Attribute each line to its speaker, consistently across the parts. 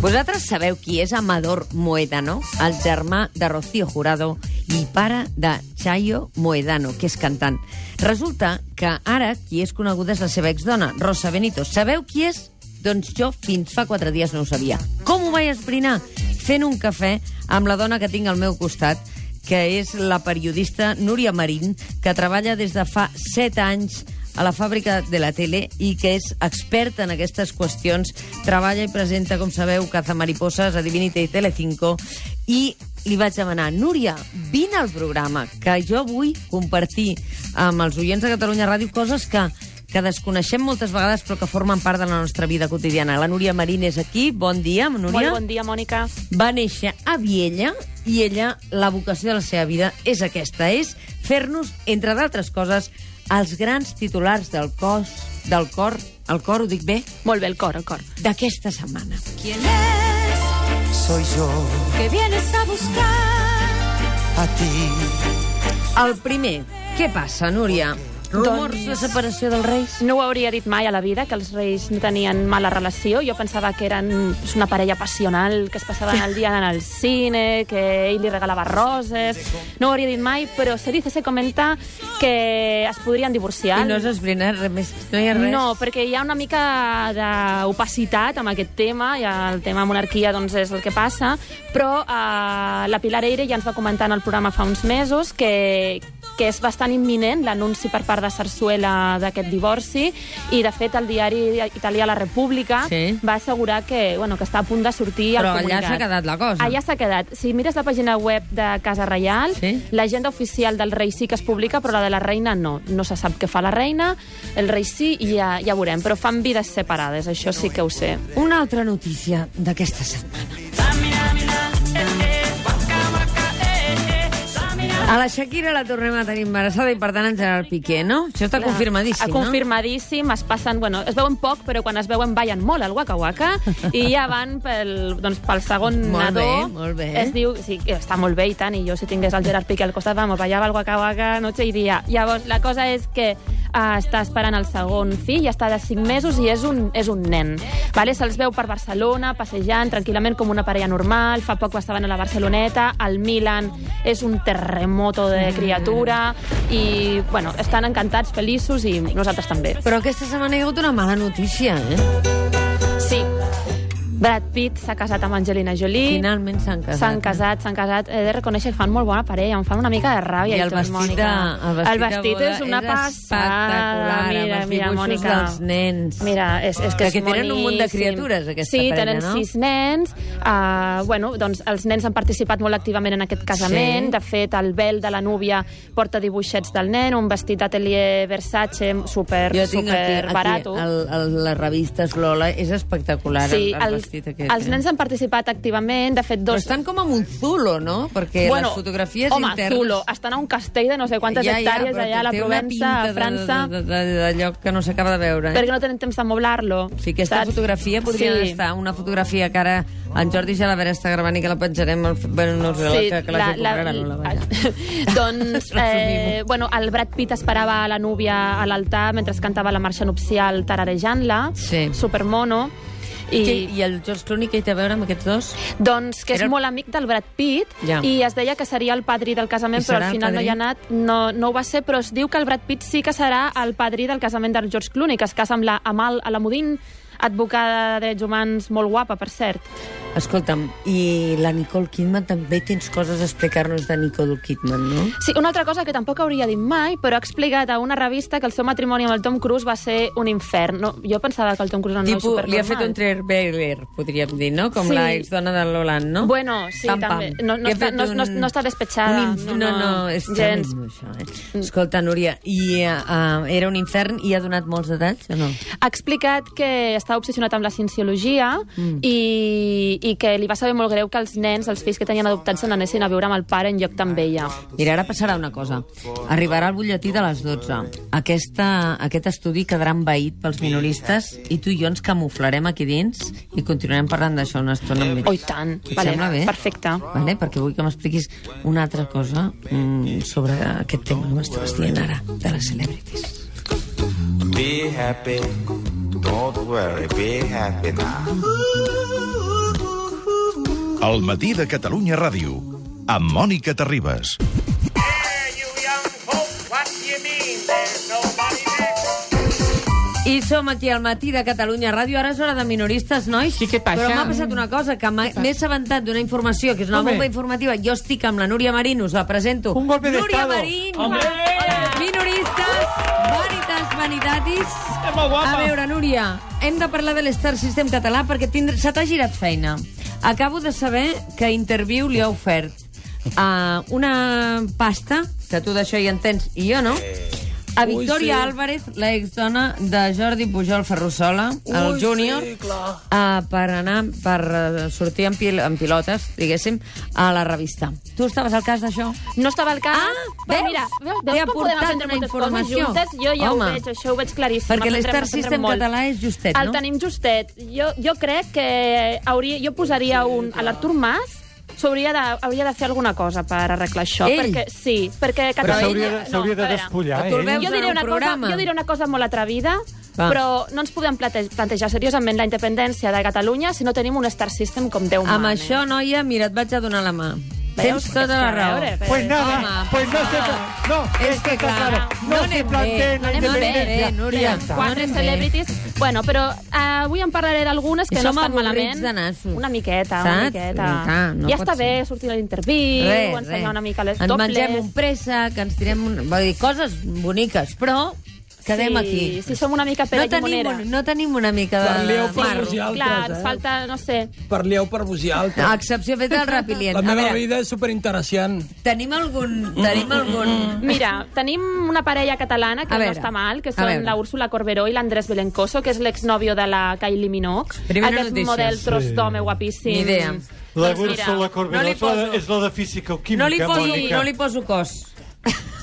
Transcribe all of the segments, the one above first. Speaker 1: Vosaltres sabeu qui és Amador Moedano? El germà de Rocío Jurado i pare de Chayo Moedano, que és cantant. Resulta que ara qui és coneguda és la seva exdona, Rosa Benito. Sabeu qui és? Doncs jo fins fa quatre dies no ho sabia. Com ho vaig esbrinar? Fent un cafè amb la dona que tinc al meu costat, que és la periodista Núria Marín, que treballa des de fa set anys a la fàbrica de la tele i que és experta en aquestes qüestions. Treballa i presenta, com sabeu, Caza Mariposas, Adivinita i Telecinco. I li vaig demanar, Núria, vine al programa, que jo vull compartir amb els oients de Catalunya Ràdio coses que que desconeixem moltes vegades però que formen part de la nostra vida quotidiana. La Núria Marín és aquí. Bon dia, Núria.
Speaker 2: Molt bon dia, Mònica.
Speaker 1: Va néixer a Viella i ella, la vocació de la seva vida és aquesta, és fer-nos, entre d'altres coses, els grans titulars del cos, del cor, el cor ho dic bé,
Speaker 2: Molt bé, el cor, el cor.
Speaker 1: d'aquesta setmana.
Speaker 3: ¿Quién es
Speaker 4: Soy yo,
Speaker 3: que vienes a buscar?
Speaker 4: a ti.
Speaker 1: El primer, què passa, Núria?
Speaker 4: Doncs
Speaker 1: Rumors de separació dels reis?
Speaker 2: No ho hauria dit mai a la vida, que els reis no tenien mala relació. Jo pensava que eren doncs, una parella passional, que es passaven el dia anant al cine, que ell li regalava roses... No ho hauria dit mai, però se dice, se comenta que es podrien divorciar.
Speaker 1: I no has esbrinat res més, no hi ha res?
Speaker 2: No, perquè hi ha una mica d'opacitat amb aquest tema, i el tema monarquia doncs, és el que passa, però eh, la Pilar Eire ja ens va comentar en el programa fa uns mesos que, que és bastant imminent l'anunci per part de Sarsuela d'aquest divorci i, de fet, el diari italià La República
Speaker 1: Sí.
Speaker 2: va assegurar que, bueno, que està a punt de sortir
Speaker 1: Però allà
Speaker 2: el comunicat.
Speaker 1: s'ha quedat la cosa.
Speaker 2: Allà s'ha quedat. Si mires la pàgina web de Casa Reial,
Speaker 1: Sí.
Speaker 2: l'agenda oficial del rei sí que es publica, però la de la reina no. No se sap què fa la reina, el rei sí, i ja, ja veurem. Però fan vides separades, això sí que ho sé.
Speaker 1: Una altra notícia d'aquesta setmana. A la Shakira la tornem a tenir embarassada i, per tant, en Gerard Piqué, no? Això està confirmadíssim,
Speaker 2: Ah,
Speaker 1: no?
Speaker 2: Confirmadíssim, es passen... Bueno, es veuen poc, però quan es veuen ballen molt al Waka Waka i ja van pel, doncs, pel segon
Speaker 1: Molt
Speaker 2: nadó.
Speaker 1: bé, molt bé.
Speaker 2: Es diu... Sí, que està molt bé i tant, i jo si tingués el Gerard Piqué al costat, vamos, ballava al Waka Waka noche i dia. Llavors, la cosa és que Uh, està esperant el segon fill, està de 5 mesos i és un, és un nen. Vale? Se'ls veu per Barcelona, passejant tranquil·lament com una parella normal, fa poc estaven a la Barceloneta, al Milan és un terremoto de criatura i, bueno, estan encantats, feliços i nosaltres també.
Speaker 1: Però aquesta setmana hi ha hagut una mala notícia, eh?
Speaker 2: Sí, Brad Pitt s'ha casat amb Angelina Jolie.
Speaker 1: Finalment s'han casat.
Speaker 2: S'han casat, s'han casat. He de reconèixer que fan molt bona parella, em fan una mica de ràbia.
Speaker 1: I el
Speaker 2: tot,
Speaker 1: vestit, de,
Speaker 2: Mònica.
Speaker 1: el vestit,
Speaker 2: el vestit
Speaker 1: de boda
Speaker 2: és una
Speaker 1: és
Speaker 2: passada.
Speaker 1: espectacular,
Speaker 2: Mira,
Speaker 1: amb els
Speaker 2: mira,
Speaker 1: dibuixos
Speaker 2: Mònica.
Speaker 1: dels nens.
Speaker 2: Mira, és, és que,
Speaker 1: Que
Speaker 2: és
Speaker 1: tenen un munt de
Speaker 2: moníssim.
Speaker 1: criatures, aquesta
Speaker 2: sí,
Speaker 1: parella,
Speaker 2: tenen
Speaker 1: no?
Speaker 2: sis nens. Uh, bueno, doncs els nens han participat molt activament en aquest casament.
Speaker 1: Sí.
Speaker 2: De fet, el vel de la núvia porta dibuixets del nen, un vestit d'atelier Versace super,
Speaker 1: Jo tinc
Speaker 2: super
Speaker 1: aquí, aquí
Speaker 2: barato.
Speaker 1: el, el, les revistes Lola, és espectacular
Speaker 2: Sí,
Speaker 1: el, el
Speaker 2: els,
Speaker 1: vestit aquest. eh?
Speaker 2: els nens han participat activament, de fet,
Speaker 1: Però
Speaker 2: dos...
Speaker 1: estan com amb un zulo, no? Perquè les fotografies
Speaker 2: home,
Speaker 1: internes...
Speaker 2: Zulo, estan a un castell de no sé quantes hectàrees
Speaker 1: però
Speaker 2: allà a la
Speaker 1: té una
Speaker 2: Provença,
Speaker 1: pinta
Speaker 2: a França,
Speaker 1: De, de, de, de, lloc que no s'acaba de veure. Eh?
Speaker 2: perquè no tenen temps de moblar-lo.
Speaker 1: O sigui, aquesta
Speaker 2: saps?
Speaker 1: fotografia podria
Speaker 2: sí.
Speaker 1: estar, una fotografia que ara en Jordi Gelabera està gravant i que la penjarem, al- bueno, no sé, sí, que, que la, la, la, la, la, la,
Speaker 2: doncs, eh,
Speaker 1: Resumim-ho.
Speaker 2: bueno, el Brad Pitt esperava la núvia a l'altar mentre cantava la marxa nupcial tararejant-la,
Speaker 1: Sí.
Speaker 2: supermono,
Speaker 1: I,
Speaker 2: i...
Speaker 1: I el George Clooney, què hi té a veure amb aquests dos?
Speaker 2: Doncs que és
Speaker 1: Era-
Speaker 2: molt amic del Brad Pitt
Speaker 1: Ja.
Speaker 2: i es deia que seria el padrí del
Speaker 1: I
Speaker 2: casament,
Speaker 1: serà
Speaker 2: però al
Speaker 1: el
Speaker 2: final no
Speaker 1: padrí?
Speaker 2: hi ha anat, no, no ho va ser, però es diu que el Brad Pitt sí que serà el padrí del casament del George Clooney, que es casa amb la Amal Alamudin, advocada de drets humans molt guapa, per cert.
Speaker 1: Escolta'm, i la Nicole Kidman també tens coses a explicar-nos de Nicole Kidman, no?
Speaker 2: Sí, una altra cosa que tampoc hauria dit mai, però ha explicat a una revista que el seu matrimoni amb el Tom Cruise va ser un infern. No, jo pensava que el Tom Cruise era un
Speaker 1: Tipo,
Speaker 2: noi
Speaker 1: li ha fet un
Speaker 2: supernormal.
Speaker 1: trailer, podríem dir, no? Com
Speaker 2: Sí.
Speaker 1: la exdona de Lolan, no?
Speaker 2: Bueno, sí, també. No- no
Speaker 1: Li ha
Speaker 2: està-
Speaker 1: fet
Speaker 2: no- no- no està despechada.
Speaker 1: un inf-
Speaker 2: No,
Speaker 1: No, no,
Speaker 2: no,
Speaker 1: és
Speaker 2: gens.
Speaker 1: tremendo, això, eh? Escolta, Núria, i, eh, eh, era un infern i ha donat molts detalls o no?
Speaker 2: ha explicat que està obsessionat amb la cienciologia mm. i, i que li va saber molt greu que els nens, els fills que tenien adoptats, se n'anessin a viure amb el pare en lloc amb ella.
Speaker 1: Mira, ara passarà una cosa. Arribarà el butlletí de les 12. Aquesta, aquest estudi quedarà envaït pels minoristes i tu i jo ens camuflarem aquí dins i continuarem parlant d'això una estona amb ells.
Speaker 2: Oh, i tant.
Speaker 1: Et
Speaker 2: Vale,
Speaker 1: sembla bé?
Speaker 2: Perfecte.
Speaker 1: Vale, perquè vull que m'expliquis una altra cosa mm, sobre aquest tema que m'estaves dient ara, de les celebrities.
Speaker 5: Be happy.
Speaker 4: Don't worry, be happy now.
Speaker 5: El matí de Catalunya Ràdio, amb Mònica Terribas.
Speaker 1: I som aquí al matí de Catalunya Ràdio. Ara és hora de minoristes, nois.
Speaker 6: Sí, què passa?
Speaker 1: Però m'ha passat una cosa, que m'ha- m'he assabentat d'una informació, que és una
Speaker 6: Home.
Speaker 1: bomba informativa. Jo estic amb la Núria Marín, us la presento.
Speaker 6: Un golpe
Speaker 1: Núria
Speaker 6: d'estado.
Speaker 1: Marín,
Speaker 6: Home.
Speaker 1: minoristes, veritas, vanitatis.
Speaker 6: És molt guapa.
Speaker 1: A veure, Núria, hem de parlar de l'Star System català perquè tindr... se t'ha girat feina. Acabo de saber que Interview li ha ofert uh, una pasta, que tu d'això hi entens i jo no, a Victòria Ui, sí. Álvarez, la exdona de Jordi Pujol Ferrusola, el júnior, sí, uh, per anar per uh, sortir en, pil en pilotes, diguéssim, a la revista. Tu estaves al cas d'això?
Speaker 2: No estava al cas.
Speaker 1: Ah,
Speaker 2: però
Speaker 1: veus?
Speaker 2: mira, veus,
Speaker 1: T'he
Speaker 2: veus com podem
Speaker 1: aportat
Speaker 2: aprendre
Speaker 1: una
Speaker 2: moltes coses
Speaker 1: informació.
Speaker 2: juntes? Jo ja
Speaker 1: Home.
Speaker 2: ho veig, això ho veig claríssim.
Speaker 1: Perquè
Speaker 2: Ens centrem-
Speaker 1: l'Star
Speaker 2: ens centrem
Speaker 1: System
Speaker 2: molt.
Speaker 1: català és justet,
Speaker 2: El
Speaker 1: no?
Speaker 2: tenim justet. Jo, jo crec que hauria, jo posaria un... A l'Artur Mas s'hauria de, hauria de fer alguna cosa per arreglar això.
Speaker 1: Ell?
Speaker 2: Perquè, sí, perquè
Speaker 6: Però
Speaker 2: Catalunya...
Speaker 6: s'hauria de,
Speaker 2: no,
Speaker 6: s'hauria de
Speaker 2: a veure.
Speaker 6: despullar,
Speaker 1: Tu el
Speaker 6: eh?
Speaker 1: veus?
Speaker 2: Jo
Speaker 1: en
Speaker 2: diré,
Speaker 1: el
Speaker 2: una cosa,
Speaker 1: programa.
Speaker 2: jo diré una cosa molt atrevida,
Speaker 1: Va.
Speaker 2: però no ens podem plate- plantejar seriosament la independència de Catalunya si no tenim un Star System com Déu
Speaker 1: Amb
Speaker 2: mana.
Speaker 1: això, noia, mira, et vaig a donar la mà. Tens
Speaker 2: Veus?
Speaker 1: tota la
Speaker 2: És que a
Speaker 1: raó.
Speaker 2: veure,
Speaker 6: Pues nada,
Speaker 1: Home,
Speaker 6: pues no
Speaker 1: por
Speaker 6: se...
Speaker 1: favor.
Speaker 6: pla- No,
Speaker 1: És
Speaker 6: esto
Speaker 1: que
Speaker 6: está
Speaker 1: clar,
Speaker 6: No,
Speaker 1: no
Speaker 6: se
Speaker 1: anem
Speaker 6: plantea
Speaker 1: bé,
Speaker 6: la
Speaker 1: no anem bé,
Speaker 6: independencia.
Speaker 1: eh, Núria?
Speaker 6: Ja està.
Speaker 1: Quan-
Speaker 2: quatre
Speaker 1: Anem bé.
Speaker 2: celebrities. Bueno, però eh, avui en parlaré d'algunes que
Speaker 1: I
Speaker 2: no
Speaker 1: som
Speaker 2: estan
Speaker 1: avorrits
Speaker 2: malament.
Speaker 1: de nassos.
Speaker 2: Una miqueta,
Speaker 1: Saps?
Speaker 2: una miqueta.
Speaker 1: Clar, no
Speaker 2: ja
Speaker 1: pot
Speaker 2: està
Speaker 1: ser.
Speaker 2: bé sortir a l'interviu,
Speaker 1: Res,
Speaker 2: ensenyar
Speaker 1: res.
Speaker 2: una mica les
Speaker 1: Ens
Speaker 2: dobles.
Speaker 1: mengem un préssec, ens tirem... Un... Vull dir, coses boniques, però quedem
Speaker 2: sí,
Speaker 1: aquí.
Speaker 2: Sí, som una mica
Speaker 1: no,
Speaker 2: Pere
Speaker 1: tenim
Speaker 2: Llimonera.
Speaker 1: un, no tenim una mica de,
Speaker 7: Parleu
Speaker 1: de
Speaker 7: per
Speaker 1: marro.
Speaker 7: vosaltres. altres,
Speaker 2: Clar, ens
Speaker 7: eh?
Speaker 2: falta, no sé...
Speaker 7: Parleu per vosaltres.
Speaker 1: A excepció feta del rapilient.
Speaker 7: La
Speaker 1: A
Speaker 7: meva Mm,
Speaker 1: veure,
Speaker 7: vida és superinteressant.
Speaker 1: tenim algun... Tenim algun...
Speaker 2: Mira, tenim una parella catalana que
Speaker 1: A
Speaker 2: no
Speaker 1: veure,
Speaker 2: està mal, que
Speaker 1: a
Speaker 2: són
Speaker 1: veure.
Speaker 2: la Úrsula Corberó i l'Andrés Belencoso, que és l'exnòvio de la Kylie Minogue.
Speaker 1: Primera
Speaker 2: Aquest
Speaker 1: notícia.
Speaker 2: model tros
Speaker 6: Sí.
Speaker 2: d'home guapíssim.
Speaker 1: Ni idea.
Speaker 6: La
Speaker 2: Doncs mira,
Speaker 6: Úrsula Corberó
Speaker 1: no li
Speaker 6: és la de-
Speaker 1: poso.
Speaker 6: és la de física o química,
Speaker 1: No li poso,
Speaker 6: Mònica.
Speaker 1: no li poso cos.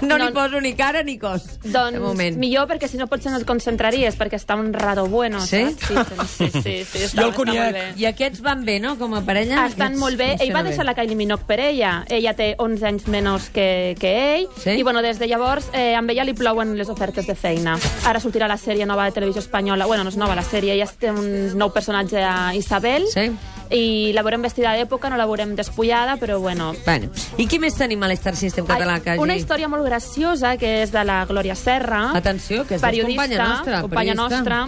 Speaker 1: No, li
Speaker 2: No.
Speaker 1: poso ni cara ni cos. de
Speaker 2: Doncs
Speaker 1: moment.
Speaker 2: millor, perquè si no potser no et concentraries, perquè està un rato bueno,
Speaker 1: Sí?
Speaker 2: saps? Sí, sí, sí, sí, sí està,
Speaker 7: Jo el
Speaker 2: està
Speaker 7: conyac.
Speaker 2: molt bé.
Speaker 1: I aquests van bé, no?, com a parella?
Speaker 2: Estan
Speaker 1: Aquests
Speaker 2: molt bé. Ell
Speaker 1: funciona
Speaker 2: va deixar la Kylie Minogue per ella. Ella té 11 anys menys que, que ell.
Speaker 1: Sí?
Speaker 2: I, bueno, des de llavors, eh, amb ella li plouen les ofertes de feina. Ara sortirà la sèrie nova de televisió espanyola. Bueno, no és nova la sèrie, ja té un nou personatge a Isabel.
Speaker 1: Sí.
Speaker 2: I la veurem vestida d'època, no la veurem despullada, però, bueno...
Speaker 1: Bueno, i qui més tenim a l'Star System català? Tota Que
Speaker 2: Ai,
Speaker 1: hagi...
Speaker 2: Una història molt graciosa, que és de la Glòria Serra.
Speaker 1: Atenció, que és
Speaker 2: Ah. periodista,
Speaker 1: companya nostra.
Speaker 2: Companya
Speaker 1: periodista.
Speaker 2: nostra.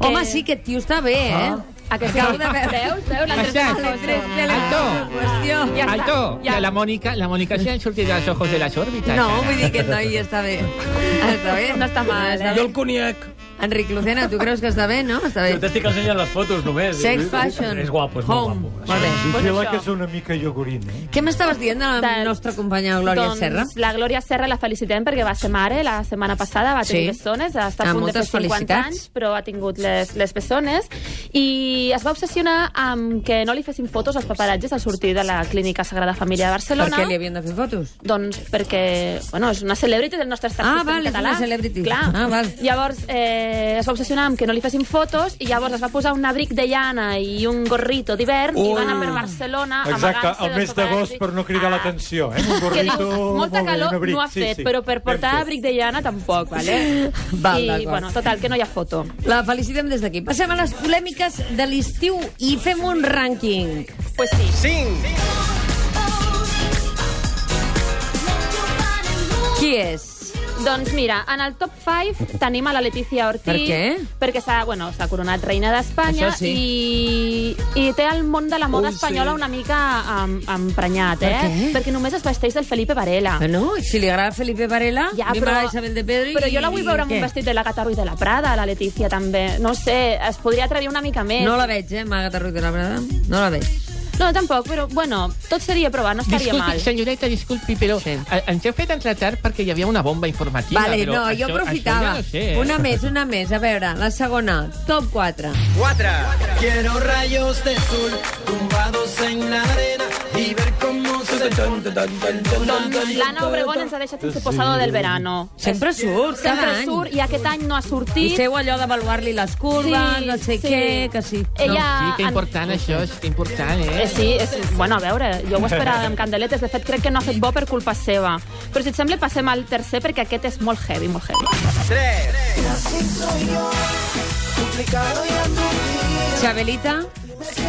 Speaker 1: Home,
Speaker 2: Eh,
Speaker 1: sí, aquest tio està bé, eh?
Speaker 2: A que sí?
Speaker 1: Acabo de veure.
Speaker 2: Veus? Veus? Ah. L'Andrés
Speaker 8: Aixec.
Speaker 2: Belencoso.
Speaker 8: Alto.
Speaker 1: Qüestió.
Speaker 2: Ja està.
Speaker 8: Alto,
Speaker 2: Ja.
Speaker 8: la, la Mónica, la Mónica se han surtido los ojos de las órbitas.
Speaker 1: No, vull dir que el noi està bé. Està bé?
Speaker 2: No està mal, eh?
Speaker 7: Jo el conyac.
Speaker 1: Enric Lucena, tu creus que està bé, no? Està
Speaker 9: Jo
Speaker 1: bé.
Speaker 9: t'estic ensenyant les fotos només.
Speaker 1: Sex, fashion,
Speaker 9: És guapo, és
Speaker 1: home.
Speaker 9: molt guapo.
Speaker 1: Molt bé.
Speaker 6: I
Speaker 2: Pues
Speaker 6: fila
Speaker 2: això.
Speaker 6: que és una mica iogurina. eh?
Speaker 1: Què m'estaves dient de la
Speaker 2: Del-
Speaker 1: nostra companya Glòria
Speaker 2: doncs,
Speaker 1: Serra?
Speaker 2: la Glòria Serra la felicitem perquè va ser mare la setmana passada, va tenir
Speaker 1: Sí.
Speaker 2: sí. bessones, està
Speaker 1: Ah,
Speaker 2: a punt de fer
Speaker 1: moltes
Speaker 2: 50
Speaker 1: felicitats.
Speaker 2: anys, però ha tingut les, les bessones, i es va obsessionar amb que no li fessin fotos als paparatges al sortir de la clínica Sagrada Família de
Speaker 1: Per
Speaker 2: Barcelona.
Speaker 1: què li havien de fer fotos?
Speaker 2: Doncs perquè, bueno, és una celebrity del nostre estat
Speaker 1: Ah,
Speaker 2: System
Speaker 1: val, és
Speaker 2: català.
Speaker 1: una celebrity.
Speaker 2: Clar.
Speaker 1: Ah, val.
Speaker 2: Llavors eh, es va obsessionar amb que no li fessin fotos i llavors es va posar un abric de llana i un gorrito d'hivern i va anar per Barcelona
Speaker 6: Exacte,
Speaker 2: amagant-se
Speaker 6: el
Speaker 2: dels
Speaker 6: mes d'agost
Speaker 2: paparazzi.
Speaker 6: per no cridar
Speaker 2: Ah.
Speaker 6: l'atenció, eh? Un
Speaker 2: Que
Speaker 6: gorrito,
Speaker 2: dius, molta
Speaker 6: molt bé,
Speaker 2: calor
Speaker 6: un abric,
Speaker 2: no ha fet,
Speaker 6: sí, sí.
Speaker 2: però per
Speaker 6: Ben
Speaker 2: portar
Speaker 6: fet.
Speaker 2: abric de llana tampoc, vale?
Speaker 1: Val,
Speaker 2: I,
Speaker 1: d'acord.
Speaker 2: bueno, total, que no hi ha foto.
Speaker 1: La felicitem des d'aquí. Passem a les polèmiques de l'estiu i fem un rànquing.
Speaker 2: Pues sí.
Speaker 1: Qui és?
Speaker 2: Doncs mira, en el top 5 tenim a la Letícia Ortiz.
Speaker 1: Per què?
Speaker 2: Perquè s'ha bueno, s'ha coronat reina d'Espanya
Speaker 1: Això sí.
Speaker 2: i, i té el món de la moda
Speaker 7: Ui, sí.
Speaker 2: espanyola una mica em, emprenyat,
Speaker 1: Per
Speaker 2: eh?
Speaker 1: què?
Speaker 2: Perquè només es vesteix del Felipe Varela.
Speaker 1: Ah, no? Si li agrada Felipe Varela, ja, mi m'agrada Isabel de Pedro i...
Speaker 2: però jo la vull veure amb
Speaker 1: què?
Speaker 2: un vestit de la Gata Ruiz de la Prada, la Letícia també. No sé, es podria atrevir una mica més.
Speaker 1: No la veig, eh, Magata Ruiz de la Prada. No la veig.
Speaker 2: no tampoc, però bueno, tot seria provar, no estaria
Speaker 8: Disculpi,
Speaker 2: mal.
Speaker 8: senyoreta, disculpi, però
Speaker 1: Sí.
Speaker 8: sí. ens heu fet entratar perquè hi havia una bomba informativa.
Speaker 1: Vale,
Speaker 8: però
Speaker 1: no, jo
Speaker 8: això-
Speaker 1: aprofitava.
Speaker 8: Això ja no sé, eh?
Speaker 1: Una més, una més. A veure, la segona, top 4.
Speaker 4: Quiero rayos de sol tumbados en la arena y ver cómo se
Speaker 2: Doncs l'Anna Obregón ens ha deixat sense posado del verano.
Speaker 1: Sempre surt, cada
Speaker 2: Sempre
Speaker 1: any.
Speaker 2: surt i aquest any no ha
Speaker 1: I
Speaker 2: sortit.
Speaker 1: seu allò d'avaluar-li les curves,
Speaker 2: Sí,
Speaker 1: no sé
Speaker 2: sí.
Speaker 1: què, que sí.
Speaker 2: Ella-
Speaker 8: Sí, que
Speaker 2: en-
Speaker 8: important, això, és que important, eh?
Speaker 2: Eh, sí, és, bueno, a veure, jo ho esperava amb candeletes. De fet, crec que no ha fet bo per culpa seva. Però si et sembla, passem al tercer, perquè aquest és molt heavy, molt heavy.
Speaker 1: Xabelita,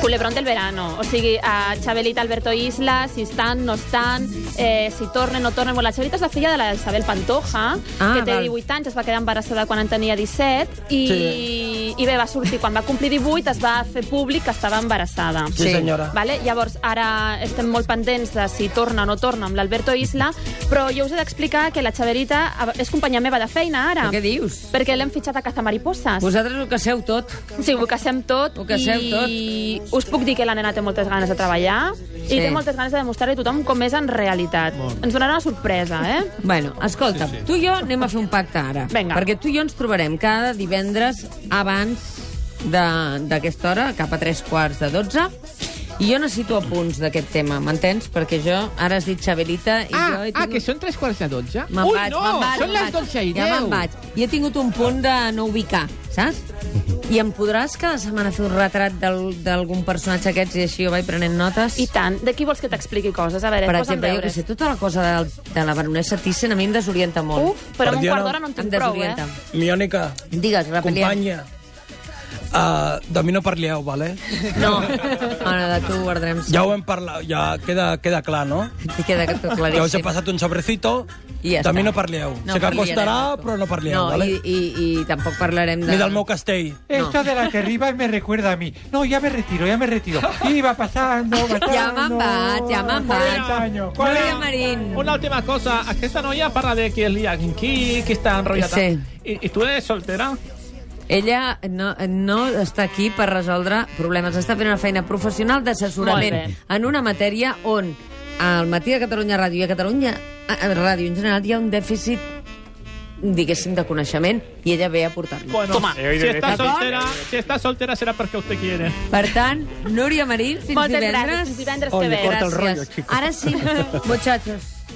Speaker 2: Culebrón del verano. O sigui, a Xabelita, Alberto Isla, si estan, no estan, eh, si tornen, o no tornen... Bueno, la Xabelita és la filla de la Isabel Pantoja,
Speaker 1: Ah,
Speaker 2: que té
Speaker 1: val.
Speaker 2: 18 anys, es va quedar embarassada quan en tenia 17, i,
Speaker 7: Sí.
Speaker 2: i bé, va sortir, quan va complir 18 es va fer públic que estava embarassada.
Speaker 7: Sí,
Speaker 1: Sí.
Speaker 7: senyora.
Speaker 2: Vale? Llavors, ara estem molt pendents de si torna o no torna amb l'Alberto Isla, però jo us he d'explicar que la Xaverita eh, és companya meva de feina ara.
Speaker 1: què dius?
Speaker 2: Perquè l'hem fitxat a Cazamariposes.
Speaker 1: Vosaltres ho caseu tot.
Speaker 2: Sí, ho casem tot.
Speaker 1: Ho casem
Speaker 2: I us puc dir que la nena té moltes ganes de treballar
Speaker 1: Sí.
Speaker 2: i té moltes ganes de demostrar-li a tothom com és en realitat. Ens donarà una sorpresa, eh?
Speaker 1: Bueno, escolta, sí, sí. tu i jo anem a fer un pacte ara.
Speaker 2: Vinga.
Speaker 1: Perquè tu i jo ens trobarem cada divendres abans de- d'aquesta hora, cap a tres quarts de dotze, i jo necessito apunts d'aquest tema, m'entens? Perquè jo, ara has dit Xabelita, i jo...
Speaker 8: Ah,
Speaker 1: he
Speaker 8: ah,
Speaker 1: tingut-
Speaker 8: que són tres quarts de dotze?
Speaker 1: Me'n
Speaker 8: Ui,
Speaker 1: vaig,
Speaker 8: no!
Speaker 1: me'n vaig,
Speaker 8: són
Speaker 1: me'n
Speaker 8: les
Speaker 1: vaig.
Speaker 8: dotze i deu.
Speaker 1: Ja me'n vaig. Jo he tingut un punt de no ubicar, saps?
Speaker 8: Mhm.
Speaker 1: I em podràs cada setmana fer un retrat del- d'algun personatge aquests i així jo vaig prenent notes?
Speaker 2: I tant. De qui vols que t'expliqui coses? A veure,
Speaker 1: per
Speaker 2: posa'm
Speaker 1: exemple, jo que
Speaker 2: deures.
Speaker 1: sé, tota la cosa de, de la baronessa Thyssen a mi em desorienta molt.
Speaker 2: Uf, però amb un
Speaker 7: Perdona,
Speaker 2: quart d'hora no en
Speaker 1: em
Speaker 2: tinc prou, eh?
Speaker 1: desorienta.
Speaker 7: Miònica,
Speaker 1: Digues, repeliem.
Speaker 7: companya, uh, de mi no parleu, vale?
Speaker 1: No, Anna, de tu guardarem...
Speaker 7: Ja ho hem parlat, ja queda, queda clar, no?
Speaker 1: T'hi queda tot claríssim.
Speaker 7: Ja us he passat un sobrecito,
Speaker 1: I ja
Speaker 7: de mi
Speaker 1: està.
Speaker 7: no parleu.
Speaker 1: No
Speaker 7: sé que
Speaker 1: parlarem,
Speaker 7: costarà,
Speaker 1: tu.
Speaker 7: però no parleu,
Speaker 1: no,
Speaker 7: vale?
Speaker 1: i, i, i tampoc parlarem de...
Speaker 7: Ni del meu castell.
Speaker 6: Esto de la que arriba me recuerda a mí. No, ya me retiro, ya me retiro. Iba pasando, pasando.
Speaker 1: Ja me'n vaig, ja me'n vaig.
Speaker 6: 40 años.
Speaker 1: Núria Marín.
Speaker 8: Una última cosa, aquesta noia parla de que el Lian Ki, que està enrotllada.
Speaker 1: Sí.
Speaker 8: I, I tu eres soltera?
Speaker 1: Ella no, no està aquí per resoldre problemes. Està fent una feina professional
Speaker 2: Molt
Speaker 1: d'assessorament
Speaker 2: bé.
Speaker 1: en una matèria on al matí de Catalunya Ràdio i a Catalunya a a Ràdio en general hi ha un dèficit diguéssim, de coneixement i ella ve a portar-lo.
Speaker 8: Bueno, Toma,
Speaker 6: he oído
Speaker 8: si està
Speaker 6: decir-
Speaker 8: soltera, si està soltera serà perquè usted quiere.
Speaker 1: Per tant, Núria Marín, fins
Speaker 2: Moltes gràcies.
Speaker 1: divendres.
Speaker 2: Fins divendres
Speaker 7: Oh,
Speaker 2: que
Speaker 7: li
Speaker 2: ve.
Speaker 7: corta el rotllo,
Speaker 1: Gràcies.
Speaker 7: chico.
Speaker 1: Ara sí, muchachos.